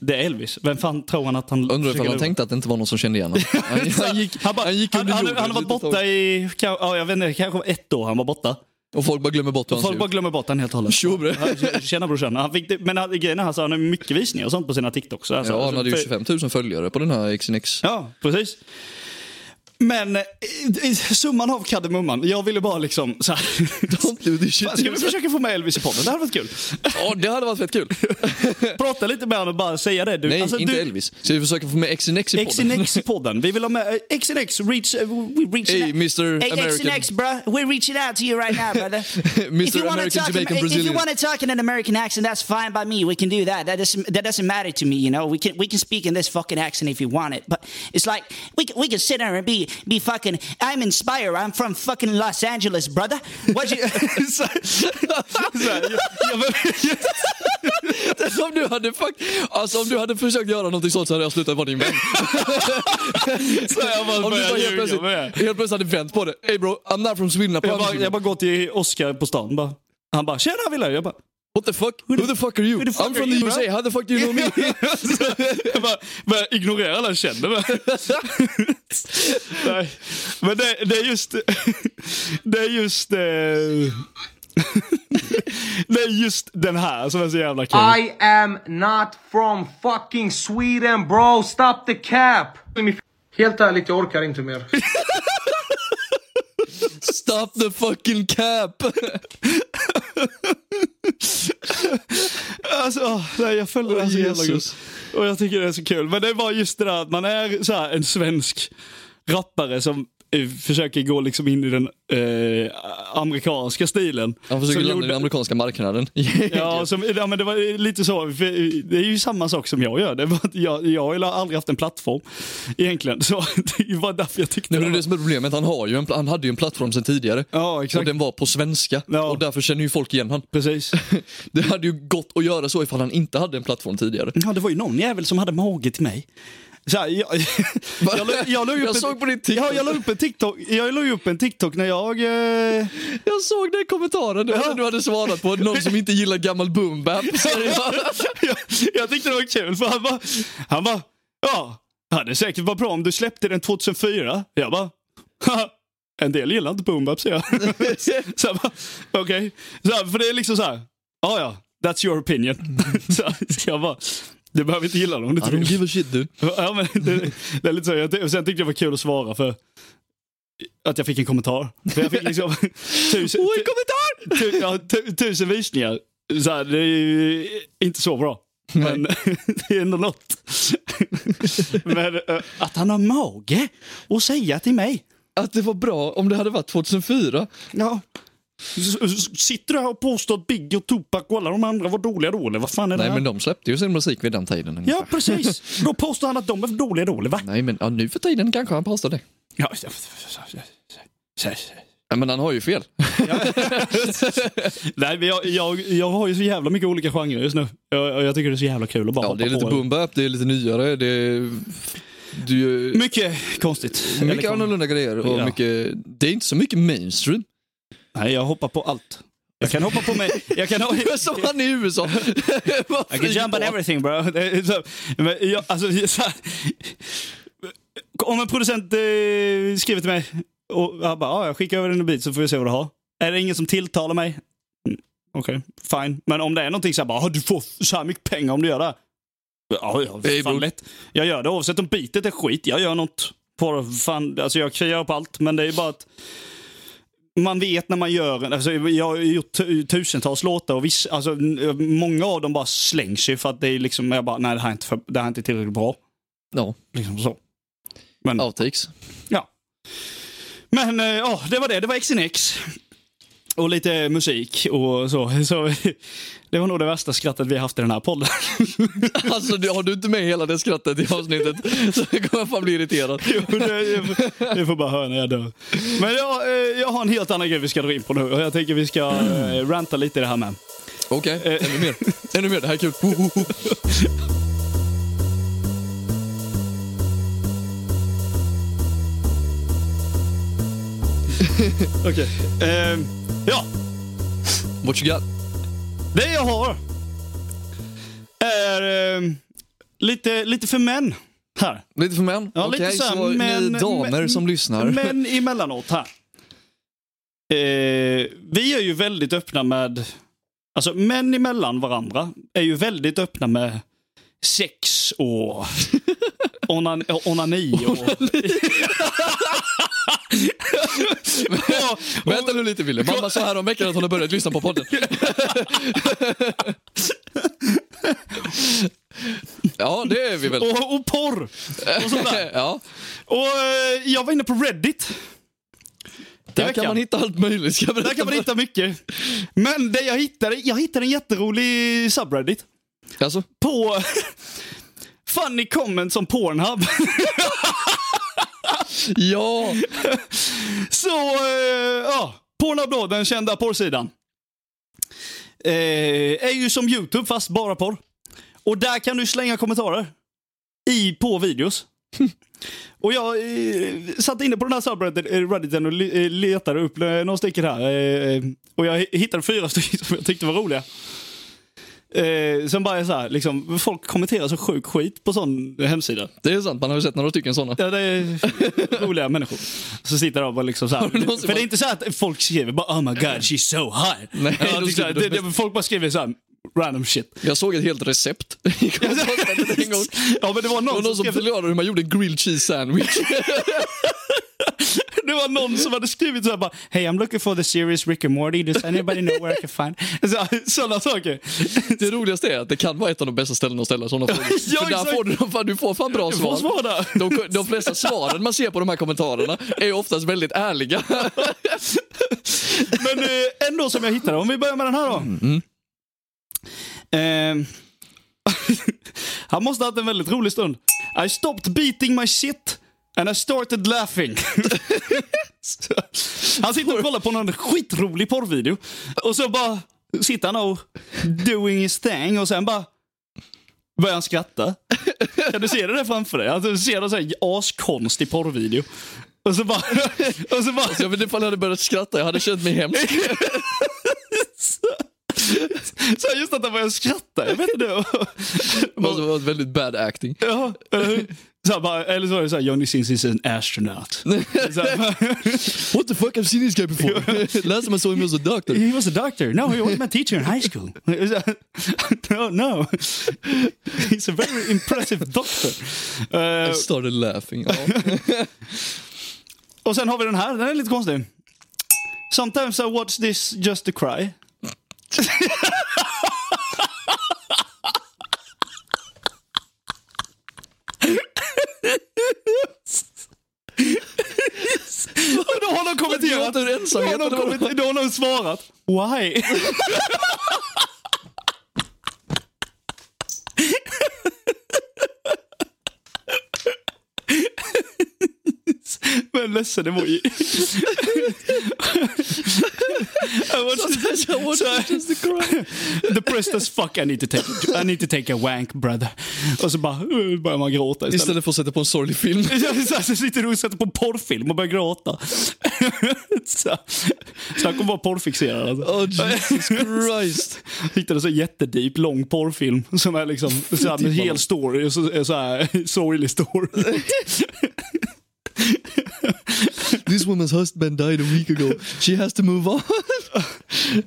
Det är Elvis. Vem fan tror han att han... Undrar försöker ifall han lura? tänkte att det inte var någon som kände igen honom. Han, han, gick, Han, bara, han gick han, under han, jorden han har varit ett litet borta i ka- ja, jag vet inte, kanske ett år han var borta. tag. Och folk bara glömmer bort hur han Folk ser bara ut. glömmer bort han helt och hållet. Tjo, bre. Ja, Tjena brorsan. Han fick, det- men han, grejen är alltså, han har mycket visningar och sånt på sina TikToks. Alltså, Ja, han hade ju För- 25 000 följare på den här XNX. Ja, precis. Men eh, eh, summan av kardemumman, jag ville bara liksom så här, Don't do this shit. Fan, Ska vi försöka få med Elvis i podden? Det hade varit kul. Ja, det hade varit fett kul. Prata lite med honom och bara säga det. Du, Nej, alltså, inte du, Elvis. Ska vi försöka få med XNX i podden? XNX i podden. Vi vill ha med eh, XNX, reach, eh, we reach Hey, Mr Hey, American. XNX, bruh. We're reaching out to you right now, brother. if Mr you want to American talk, Jamaican if you Brazilian. want to talk in an American accent, that's fine by me. We can do that. That doesn't that doesn't matter to me. You know, we can we can speak in this fucking accent if you want it. But it's like we can, we can sit there and be be fucking. I'm inspired. I'm from fucking Los Angeles, brother. What you? Så här- så här, jag- jag vill- Om du, hade fuck... alltså, om du hade försökt göra någonting sånt så hade jag slutat vara din vän. så här, jag bara Om du börjar bara helt ljuga plötsligt, med. helt plötsligt hade vänt på det. Hey bro, I'm not from Sweden, I'm Jag from bara, jag Sweden. bara går till Oscar på stan. Bara, han bara “Tjena Wille!” Jag bara, What the fuck? Who the fuck are you? who the fuck I'm are from you, the bro? USA, how the fuck do you know me? jag bara börjar ignorera alla jag känner. Bara. Nej. Men det, det är just... Det är just... Eh, det är just den här som är så jävla kul. I am not from fucking Sweden bro, stop the cap! Helt ärligt, jag orkar inte mer. Stop the fucking cap! Alltså, åh, nej, jag följer det här så jävla gott. Jesus. Och jag tycker det är så kul. Men det är bara just det där att man är så här, en svensk rappare som eh, försöker gå liksom in i den eh, amerikanska stilen. Han försöker Som landa i gjorde- den amerikanska marknaden. Ja, som, ja, men det var eh, lite så. för eh, Det är ju samma sak som jag gör. Det var att jag, jag har ju aldrig haft en plattform egentligen. Så det var därför jag tyckte Nej, men det är var- det som är problemet. Han, har ju en, pla- han hade ju en plattform sedan tidigare. Ja, Och exakt. den var på svenska. Ja. Och därför känner ju folk igen han. Precis. Det hade ju gått att göra så ifall han inte hade en plattform tidigare. Ja, det var ju någon jävel som hade mage till mig. Så här, jag, jag, la- jag, la ju Jag upp en- såg på din TikTok. Ja, jag la upp en TikTok. Jag la ju upp en TikTok när jag... Eh, Jag såg den kommentaren du, du hade svarat på. Någon som inte gillar gammal boom bap. Så jag- jag, jag tyckte det var kul för han bara, han bara, ja, ja, det är säkert var bra om du släppte den 2004. Jag bara, "Haha, en del gillar inte boombap säger jag. så jag bara, okej. Så här, För det är liksom så här, ja ja, that's your opinion. så här, så jag bara, du behöver inte gilla dem om du I inte don't vill. give a shit du. Ja, men det, det är lite så. Jag, ty- och sen tyckte jag det var kul att svara för att jag fick en kommentar. För jag fick liksom tusen, Åh, en kommentar! tu, ja, tu, tusen visningar. Så här, det är ju inte så bra. Men det är ändå något. Men eh, att han har mage att säga till mig. Att det var bra om det hade varit 2004. Ja. S- s- Sitter du här och påstår att Biggie och Tupac och alla de andra var dåliga då, eller vad fan är det Nej, här? men de släppte ju sin musik vid den tiden. Ja, ungefär. precis. Då påstår han att de är dåliga då, eller va? Nej, men ja, nu för tiden kanske han påstår det. Ja, Nej, men han har ju fel. Nej, men jag, jag, jag har ju så jävla mycket olika genrer just nu. Jag, jag tycker det är så jävla kul att bara Ja, hoppa det är lite på boom bap, det är lite nyare, det är... Du, Mycket konstigt. mycket annorlunda grejer och Ja. mycket... Det är inte så mycket mainstream. Nej, jag hoppar på allt. Jag kan hoppa på mig. Jag kan, Som han i USA. Vad I can fri jump on på. everything bro. Det är så- Men jag, alltså, det är så här- om en producent eh, skriver till mig och han bara, ah, jag skickar över en bit så får vi se vad du har. Är det ingen som tilltalar mig? Mm, Okej, fine. Men om det är någonting så här bara, ah, du får så här mycket pengar om du gör det. här." Ja, ja, Det är fan bro- lätt. Jag gör det oavsett om bitet är skit. Jag gör något på det. fan, alltså jag kan göra på allt. Men det är bara att man vet när man gör en... Alltså jag har ju gjort tu- tusentals låtar och viss, alltså, n- många av dem bara slängs ju för att det är liksom, jag bara, nej det här är inte, för, det här är inte tillräckligt bra. Ja, Liksom så. Men, ja. outtakes. Men eh, ja, det var det. Det var XNX. Och lite musik och så. så. Det var nog det värsta skrattet vi haft i den här podden. Alltså, det- har du inte med hela det skrattet i avsnittet så kommer jag fan bli irriterad. Jo, det- jag får- jag får bara höra när jag dör. Men jag, eh, jag har en helt annan grej vi ska dra in på nu. Och jag tänker vi ska eh, ranta lite i det här med. Okej, Eh, ännu mer. Ännu mer, det här är kul. Ho, ho, ho. Okej. Eh, ja, What you got? det jag har är eh, lite, lite för män här. Lite för män? Ja, Okej, lite så här, så men- ni damer men- som lyssnar. Men emellanåt här. Eh, vi är ju väldigt öppna med... Alltså män emellan varandra är ju väldigt öppna med sex och onan, onani och... Vänta nu lite Wille, mamma sa häromveckan att hon har börjat lyssna på podden. ja, det är vi väl. och, och porr! Och sånt där. ja, Och eh, jag var inne på Reddit. där veckan. kan man hitta allt möjligt. Ska jag berätta Där kan man för- hitta mycket. Men det jag hittade, jag hittade en jätterolig subreddit. Alltså, På funny comments om Pornhub. ja, Så, eh, ja. Pornhub då, den kända porrsidan. Eh, är ju som YouTube fast bara porr. Och där kan du slänga kommentarer. I, på videos. Och jag eh, satt inne på den här subredditen eh, Redditen och le- eh, letade upp eh, några stycken här. Eh, och jag hittade fyra stycken som jag tyckte var roliga. Eh, som bara är så här, liksom, folk kommenterar så sjuk skit på sån hemsida. det är sant. Man har ju sett några stycken sådana. Ja, det är roliga människor. Så sitter de och bara liksom så här. du någonsin För det är varit- inte så att folk skriver bara oh my god she's so hot. Nej, ja, de det är så här, skriver det, det, folk bara skriver så här random shit. Jag såg ett helt recept i kommentarsfältet en gång. Ja men det var Det var någon, någon som som skrev, förklarade hur man gjorde en grilled cheese sandwich. det var någon som hade skrivit så här bara Hey I'm looking for the series Rick and Morty, does anybody know where I can find? Så här, Sådana saker. Det roligaste är att det kan vara ett av de bästa ställena att ställa sådana frågor. Ja, För där exakt. får du, fan, du får fan bra Du svar. får svar där. De, de flesta svaren man ser på de här kommentarerna är oftast väldigt ärliga. Men eh, ändå som jag hittade, om vi börjar med den här då. Eh, han måste ha haft en väldigt rolig stund. I stopped beating my shit and I started laughing. han sitter och kollar på någon skitrolig porrvideo och så bara sitter han och doing his thing och sen bara börjar han skratta. Kan du se det där framför dig? Alltså, du ser en sån här askonstig porrvideo. Och så bara... Och så bara Jag vet inte ifall jag hade börjat skratta, jag hade känt mig hemsk. Så här, just att han började skratta, jag vet inte. Det måste ha varit väldigt bad acting. Ja, eller hur? Så här, bara, eller så var det såhär, Johnny Sins is an astronaut. Så här, What the fuck, I've seen this guy before. Last time I saw him he was a doctor. he was a doctor. No, he was my teacher in high school. Så här, no, no. He's a very impressive doctor. Eh, I started laughing. Ja. och sen har vi den här, den är lite konstig. Sometimes I watch this just to cry. Och då har de kommit gör inte ur ensamheten. Då har, någon kommit, då har någon svarat “Why?” Men ledsen emoji. I watched this- so- Depressed as fuck, I need to take, I need to take a wank brother. Och så bara, uh, börjar man gråta istället. Istället för att sätta på en sorglig film. Så så sitter du och sätter på porrfilm och börjar gråta. så, snacka om att vara porrfixerad. Alltså. Oh Jesus Christ. Hittade så jättedeep, lång porrfilm som är liksom så här, med Typ en hel story. och Så, är så här, sorglig story. This woman's husband died a week ago. She has to move on.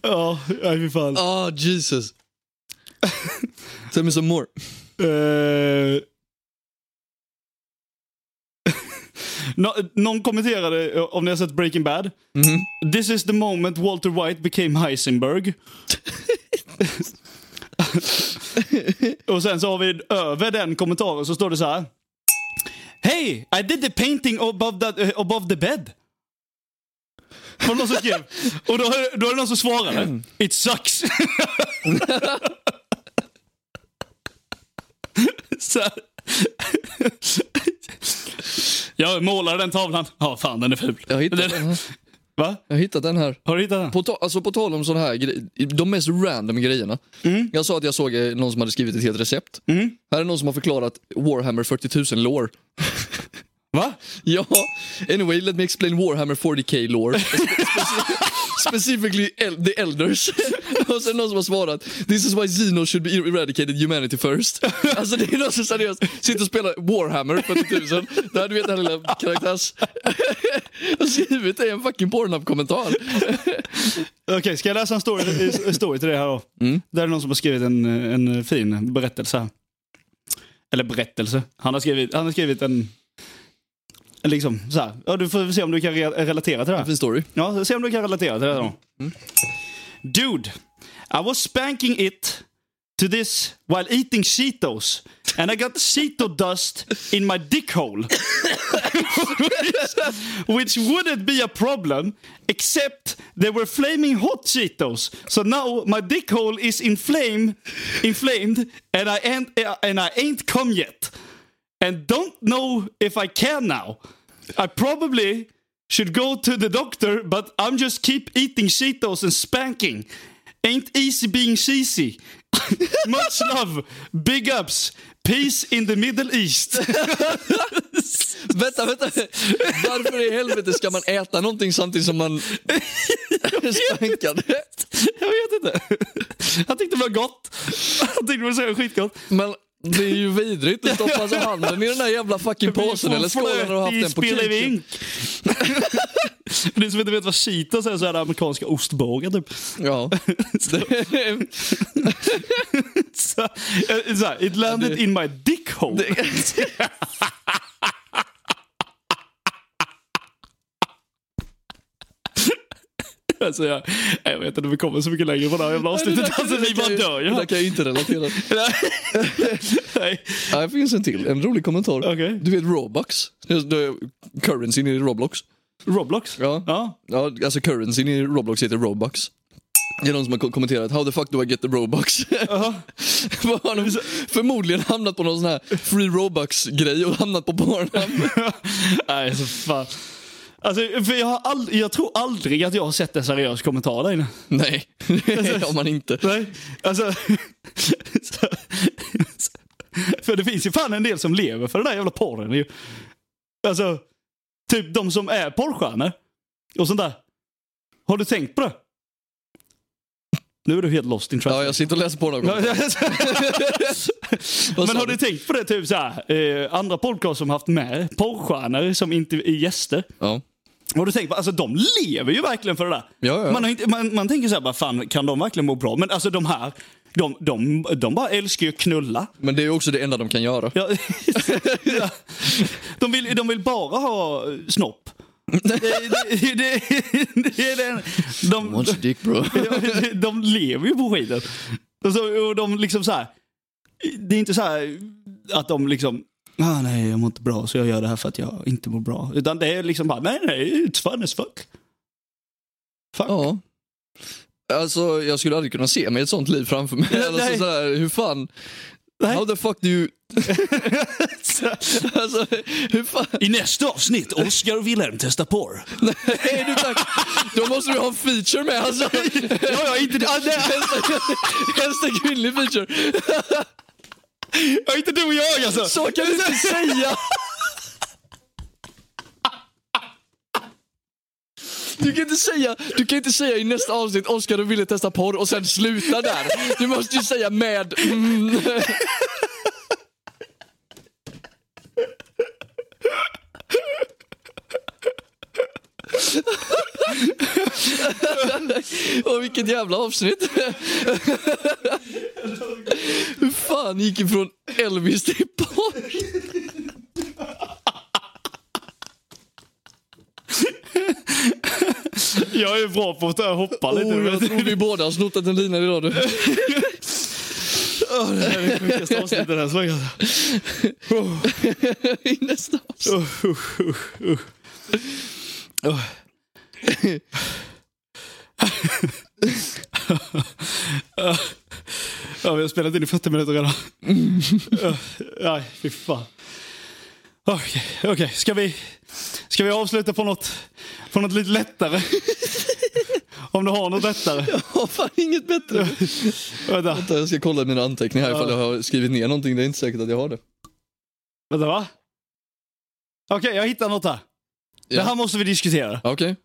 ja, nej fy fan. Oh Jesus. Tell me some more. Eh, Nå- någon kommenterade, eh, om ni har sett Breaking Bad. This is the moment Walter White became Heisenberg. Och sen så har vi över den kommentaren så står det så här. Hey, I did the painting above, that, eh, above the bed. Var det någon som skrev? Och då, är- då är det någon som svarade. It sucks. Så här. Jag målade den tavlan. Ja, fan den är ful. Jag har hittat den den, här. va? Jag har hittat den här. Har du hittat den? På, ta- alltså på tal om sådana här gre- de mest random grejerna. Jag sa att jag såg eh, någon som hade skrivit ett helt recept. Här är någon som har förklarat Warhammer 40 000 lore. Va? Ja, anyway, let me explain Warhammer 40k lore. Speci- Specifically el- the elders. Och sen någon som har svarat This is why Xenos should be eradicated humanity first. Alltså det är någon som seriöst sitter och spelar Warhammer 40 000. Där du vet den här lilla karaktärs... Och skrivit det i en fucking Pornhub-kommentar. Okej, ska jag läsa en story, en story till det här då? Där är någon som har skrivit en, en fin berättelse. här. Eller berättelse. Han har skrivit, han har skrivit en... en Liksom så här. Ja, du får se om du kan re- relatera till det här. Fin story. Ja, se om du kan relatera till det här då. Dude, I was spanking it to this while eating Cheetos. And I got Cheeto dust in my dick hole. which wouldn't be a problem, except they were flaming hot Cheetos. So now my dick hole is in flame, inflamed, and I ain't, and I ain't come yet, and don't know if I can now. I probably should go to the doctor, but I'm just keep eating Cheetos and spanking. Ain't easy being cheesy. Much love, big ups, peace in the Middle East. Vänta, vänta. Varför i helvete ska man äta någonting samtidigt som man spankar? Jag vet inte. Han tyckte det var gott. Han tyckte det var så skitgott. Men det är ju vidrigt. Du stoppar alltså handen i den där jävla fucking påsen eller skålen och har haft den på kuken. kuken. För ni som inte vet vad Cheetos är så är det amerikanska ostbågar typ. Ja. Det- Så, eh, så här, it landed in my dick hole. alltså, jag, jag vet inte om vi kommer så mycket längre på det här jävla avsnittet. Alltså, ni bara dör Det där ju. kan jag inte relatera. Nej. Här finns en till. En rolig kommentar. Okej. Du vet Robux? Det- det- Currencyn i Roblox. Roblox? Ja. ja. Ja, alltså currencyn i Roblox heter Robux. Det är någon som har ko- kommenterat “How the fuck do I get the Robux?” Vad har de Förmodligen hamnat på någon sån här free Robux-grej och hamnat på Pornhub. Nej, så fan. Alltså, för jag, har ald- jag tror aldrig att jag har sett en seriös kommentar där inne. Nej, det har man inte. Nej, alltså... så, för det finns ju fan en del som lever för den där jävla porren ju. Alltså, typ de som är porrstjärnor och sånt där. Har du tänkt på det? Nu är du helt lost in Ja, translation. jag sitter och läser Pornhub. Vad sa Men har du tänkt på det? Typ så här, eh, andra podcast som haft med porrstjärnor som inte är gäster. Ja. Har du tänkt på, alltså de lever ju verkligen för det där. Ja, ja. Man, har inte, man, man tänker så här, bara, fan kan de verkligen må bra? Men alltså de här, de, de, de bara älskar ju att knulla. Men det är ju också det enda de kan göra. Ja, ja. de, vill, de vill bara ha snopp. Det, det, det, det är den, de, Once a dick bro. de, de lever ju på skiten. Och, så, och de liksom så här. Det är inte så här att de liksom, ah, nej jag mår inte bra så jag gör det här för att jag inte mår bra. Utan det är liksom bara, nej nej, it's fun as fuck. Fuck. Ja. Alltså, jag skulle aldrig kunna se mig i ett sånt liv framför mig. alltså, nej. sådär, hur fan... How the fuck do you... alltså, hur fan... I nästa avsnitt, Oscar och Wilhelm testar porr. Nej, du tack. Då måste du ha en feature med alltså. Ja, ja, inte det. Helst, helst en kvinnlig feature. Ja, inte du och jag alltså. Så kan du inte säga! Du kan, inte säga, du kan inte säga i nästa avsnitt Oskar du ville testa porr och sen sluta där. Du måste ju säga med... Mm. och vilket jävla avsnitt. Hur fan gick ifrån Elvis till porr? Jag är bra på att hoppa lite. Oh, jag tror vi båda har snott en lina idag du. Åh, det här är det sjukaste avsnittet den här slagen. I nästa avsnitt. Ja, vi har spelat in i 40 minuter redan. Ja, Nej, fy fan. Okej, okej. Ska, vi, ska vi avsluta på något, på något lite lättare? Om du har något lättare. Jag har fan inget bättre. Vänta, Vänta, jag ska kolla mina anteckningar här ifall jag har skrivit ner någonting. Det är inte säkert att jag har det. vänta va? Okej, jag hittar något här. Ja. Det här måste vi diskutera. Ja, Okej.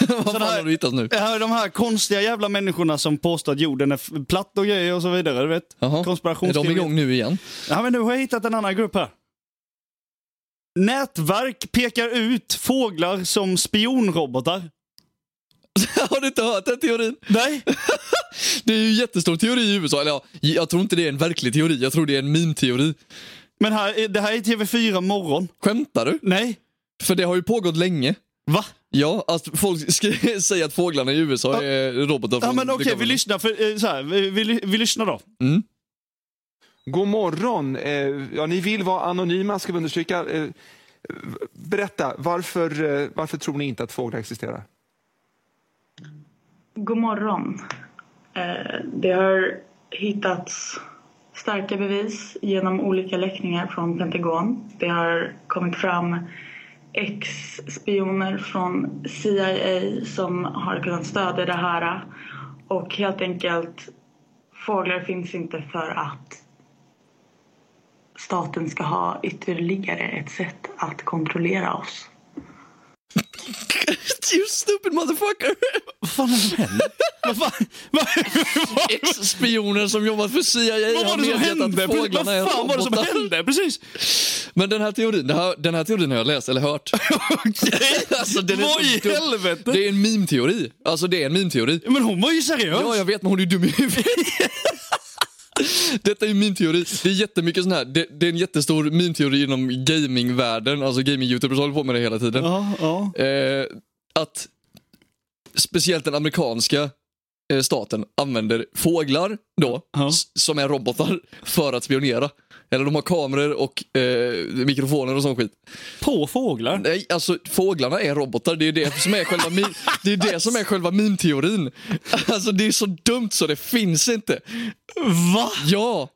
Vad fan här- har du hittat nu? Det här är de här konstiga jävla människorna som påstår att jorden är f- platt och grejer och så vidare. Du vet. Jaha. Är de Konspirationsteorier. igång nu igen? Ja, men nu har jag hittat en annan grupp här. Nätverk pekar ut fåglar som spionrobotar. har du inte hört den teorin? Nej, Det är ju en jättestor teori i USA. Eller ja, jag tror inte det är en verklig teori. Jag tror det är en meme-teori. men här, är- det här är TV4 morgon. Skämtar du? Nej, För det har ju pågått länge. va? Ja, att folk skri- säger att fåglarna i USA är robotar. Ja, från- men det okej, kommer- vi lyssnar. För, eh, så här, vi, vi, ly- vi lyssnar då. God morgon. Eh, ja, ni vill vara anonyma, ska vi understryka. Eh, berätta, varför, eh, varför tror ni inte att fåglar existerar? God morgon. Eh, Det har hittats starka bevis genom olika läckningar från Pentagon. Det har kommit fram ex-spioner från CIA som har kunnat stödja det här. Och helt enkelt, fåglar finns inte för att staten ska ha ytterligare ett sätt att kontrollera oss. You stupid motherfucker! Vad fan är det som händer? vad, fan, vad, vad, Ex-spioner som jobbat för CIA vad var har det som medgett att hände? Precis, Vad fåglarna är fan var det som robotar. hände? Precis. Men den här teorin, det här, den här teorin har jag läst eller hört. alltså, den är Vad så i dum. helvete? Det är en meme-teori. Alltså det är en meme-teori. Men hon var ju seriös. Ja, jag vet men hon är ju dum i huvudet. Detta är ju meme-teori. Det är jättemycket sån här, det, det är en jättestor meme-teori inom gamingvärlden, alltså gaming-youtubers håller på med det hela tiden. ja, ja. Eh, att speciellt den amerikanska eh, staten använder fåglar då, Ja. s- som är robotar, för att spionera. Eller de har kameror och eh, mikrofoner och sån skit. På fåglar. Nej, alltså fåglarna är robotar. Det är det som är själva, mi- det är det som är själva meme-teorin. Alltså det är så dumt så det finns inte. Va? Ja!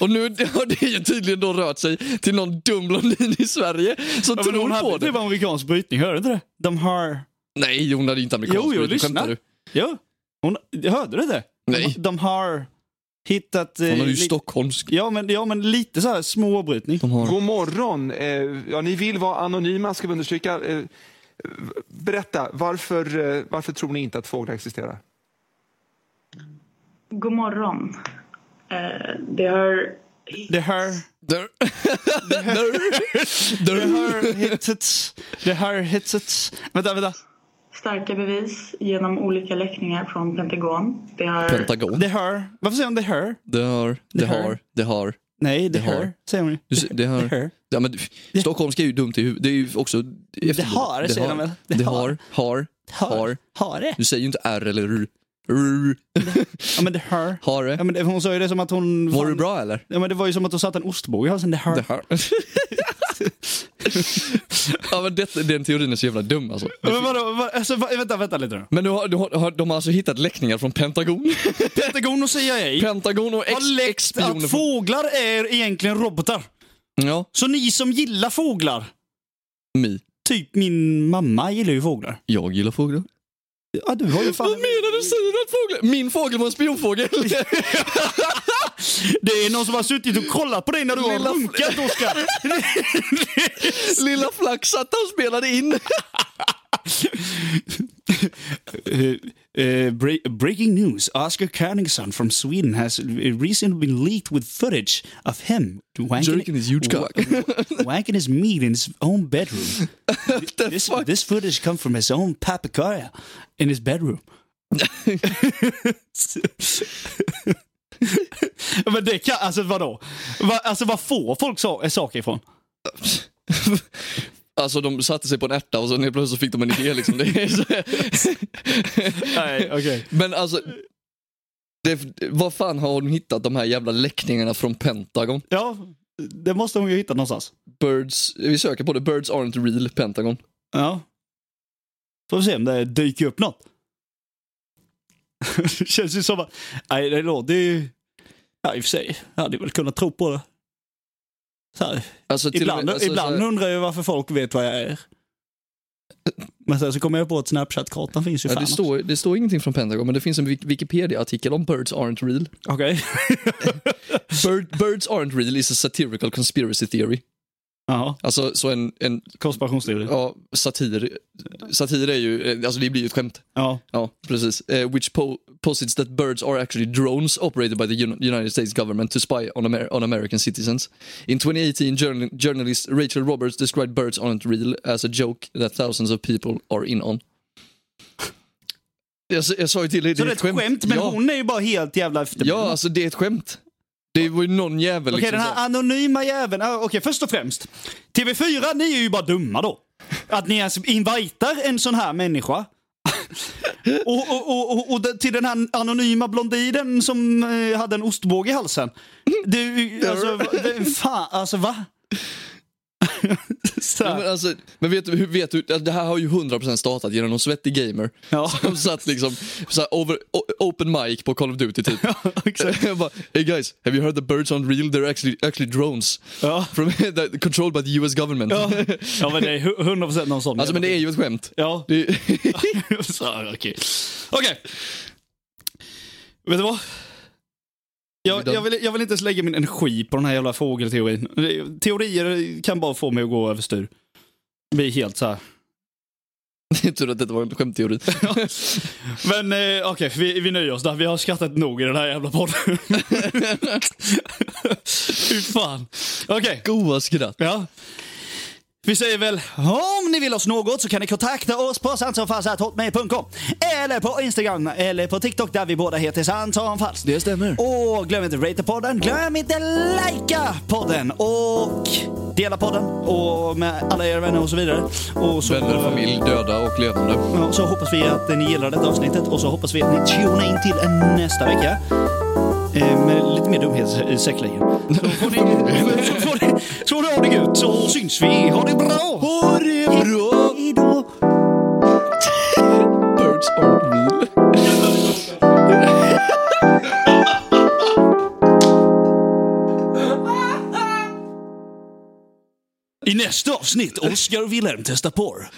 Och nu har det ju tydligen då rört sig till någon dum blondin i Sverige som Ja, men hon tror på hade det. typ amerikansk brytning, hörde du inte det? De har... Nej, hon är inte amerikansk. Jo, jo, men skämtar lyssna. Du? Jo. Hon, hörde du det? Nej. De, de har hittat... eh, Hon är ju lite- stockholmsk. Ja men, ja, men lite så här små avbrytning. De har... God morgon. Eh, ja, ni vill vara anonyma, ska vi understryka. Eh, berätta, varför, eh, varför tror ni inte att fåglar existerar? God morgon. Eh, Det har Det har... Där. Där. Det Där. har hittats... Det har hittats... Vänta, vänta. starka bevis genom olika läckningar från Pentagon. Det har Pentagon. Det har... Varför säger hon det har? Det har, det här. har, det har. Nej, det Det har. har. Säger hon ju. Du ser- Det har. Ja, men, stockholmska är ju dumt i huvudet. Det är ju också... Det har, säger de väl? Det, Det har, har. har, har. Hare. Du säger ju inte R eller R. R. Ja men det har. Har Ja, det. men det, hon sa ju det som att hon... Var du fan- bra eller? Ja men det var ju som att hon satt en ostbåge i halsen. Det har. Det har. Ja, men det, den teorin är så jävla dum alltså. Men vadå, vad, alltså, vad, vänta, vänta lite nu. Men du har, du har, har, de har alltså hittat läckningar från Pentagon. Pentagon och CIA Pentagon och ex, har läckt ex-spioner. att från- fåglar är egentligen robotar. Ja, Så ni som gillar fåglar, mi. typ min mamma gillar ju fåglar. Jag gillar fåglar. Ja, du har ju Vad menar du? Säger du att fåglar... Min fågel var en spionfågel. Det är någon som har suttit och kollat på dig när du har Lilla- runkat, Oskar. Lilla flax att han spelade in. Eh, eh, bre- breaking news. Oscar Carningson from Sweden has recently been leaked with footage of him Jerking his huge cock. wanking his meat in his own bedroom. The This, fuck? this footage come from his own papagoya in his bedroom. Men det kan, alltså vadå? Va, alltså vad får folk sa, saker ifrån? Alltså de satte sig på en ärta och sen helt plötsligt så fick de en idé liksom. Det är så... Nej, okej. Men alltså, det, vad fan har hon hittat de här jävla läckningarna från Pentagon? Ja, det måste hon ju hitta någonstans. Birds, vi söker på det, Birds aren't real Pentagon. Ja. Får vi se om det dyker upp något. det känns ju som att, nej det låter ju, ja i och för sig, jag hade väl kunnat tro på det. Så här, Alltså, till och ibland med- alltså, ibland så här- undrar jag varför folk vet vad jag är. Men sen så kommer jag på att Snapchat-kartan finns ju Ja, fan det, står, det står ingenting från Pentagon, men det finns en Wik- Wikipedia-artikel om Birds aren't real. Okej. Bird, birds aren't real is a satirical conspiracy theory. Jaha, Alltså, så en, en konspirationsteori. ja, satir, satir är ju, eh, alltså det blir ju ett skämt. Ja. Ja, precis. Eh, which po posits that birds are actually drones operated by the Un United States government to spy on, Amer on American citizens. In 2018, journal journalist Rachel Roberts described birds aren't real as a joke that thousands of people are in on. Jag, s- jag sa ju till dig, Så det är ett skämt, men ja, hon är ju bara helt jävla efter. ja, alltså det är ett skämt. Det var ju någon jävel Okej, liksom. den här anonyma jäveln. Ah, Okej, först och främst. TV4, ni är ju bara dumma då. Att ni ens invitar en sån här människa. och, och, och, och, och det- till den här anonyma blondinen som eh, hade en ostbåge i halsen. Du, alltså, va- det, fan, alltså va? Så Ja, men, här. alltså, men vet du, hur- vet du, alltså, det här har ju 100% startat genom någon svettig gamer. Ja. Som satt liksom, så här, over, o- open mic på Call of Duty typ. exakt. Jag bara, hey guys, have you heard the birds aren't real? They're actually, actually drones. Ja. From, that- controlled by the US government. Ja. ja, men det är hu- 100% någon sån. Alltså men det är ju ett skämt. Ja. Det är, Så, Okej. Okej. Vet du vad? Jag, jag, vill, jag vill inte ens lägga min energi på den här jävla fågelteorin. Teorier kan bara få mig att gå överstyr. Bli helt så här. det är tur att detta var en skämtteori. Men eh, okej, vi, vi nöjer oss där. Vi har skrattat nog i den här jävla podden. Fy fan. Okej. Goa skratt. Ja. Vi säger väl om ni vill oss något så kan ni kontakta oss på sandsomfalskt.hotmail.com eller på Instagram eller på TikTok där vi båda heter sandsomfalskt. Det stämmer. Och glöm inte rate podden, glöm inte likea podden och dela podden och med alla era vänner och så vidare. Och så, Vänner, familj, döda och levande. Ja, så hoppas vi att ni gillar detta avsnittet och så hoppas vi att ni tunar in till nästa vecka. Eh, Med lite mer dumhet eh, säkerligen. Så får ni, så får ni, så får ni ha det gött så syns vi. Ha det bra! Ha det bra! Hejdå! Birds aren't real. I nästa avsnitt, Oscar och Wilhelm testar porr.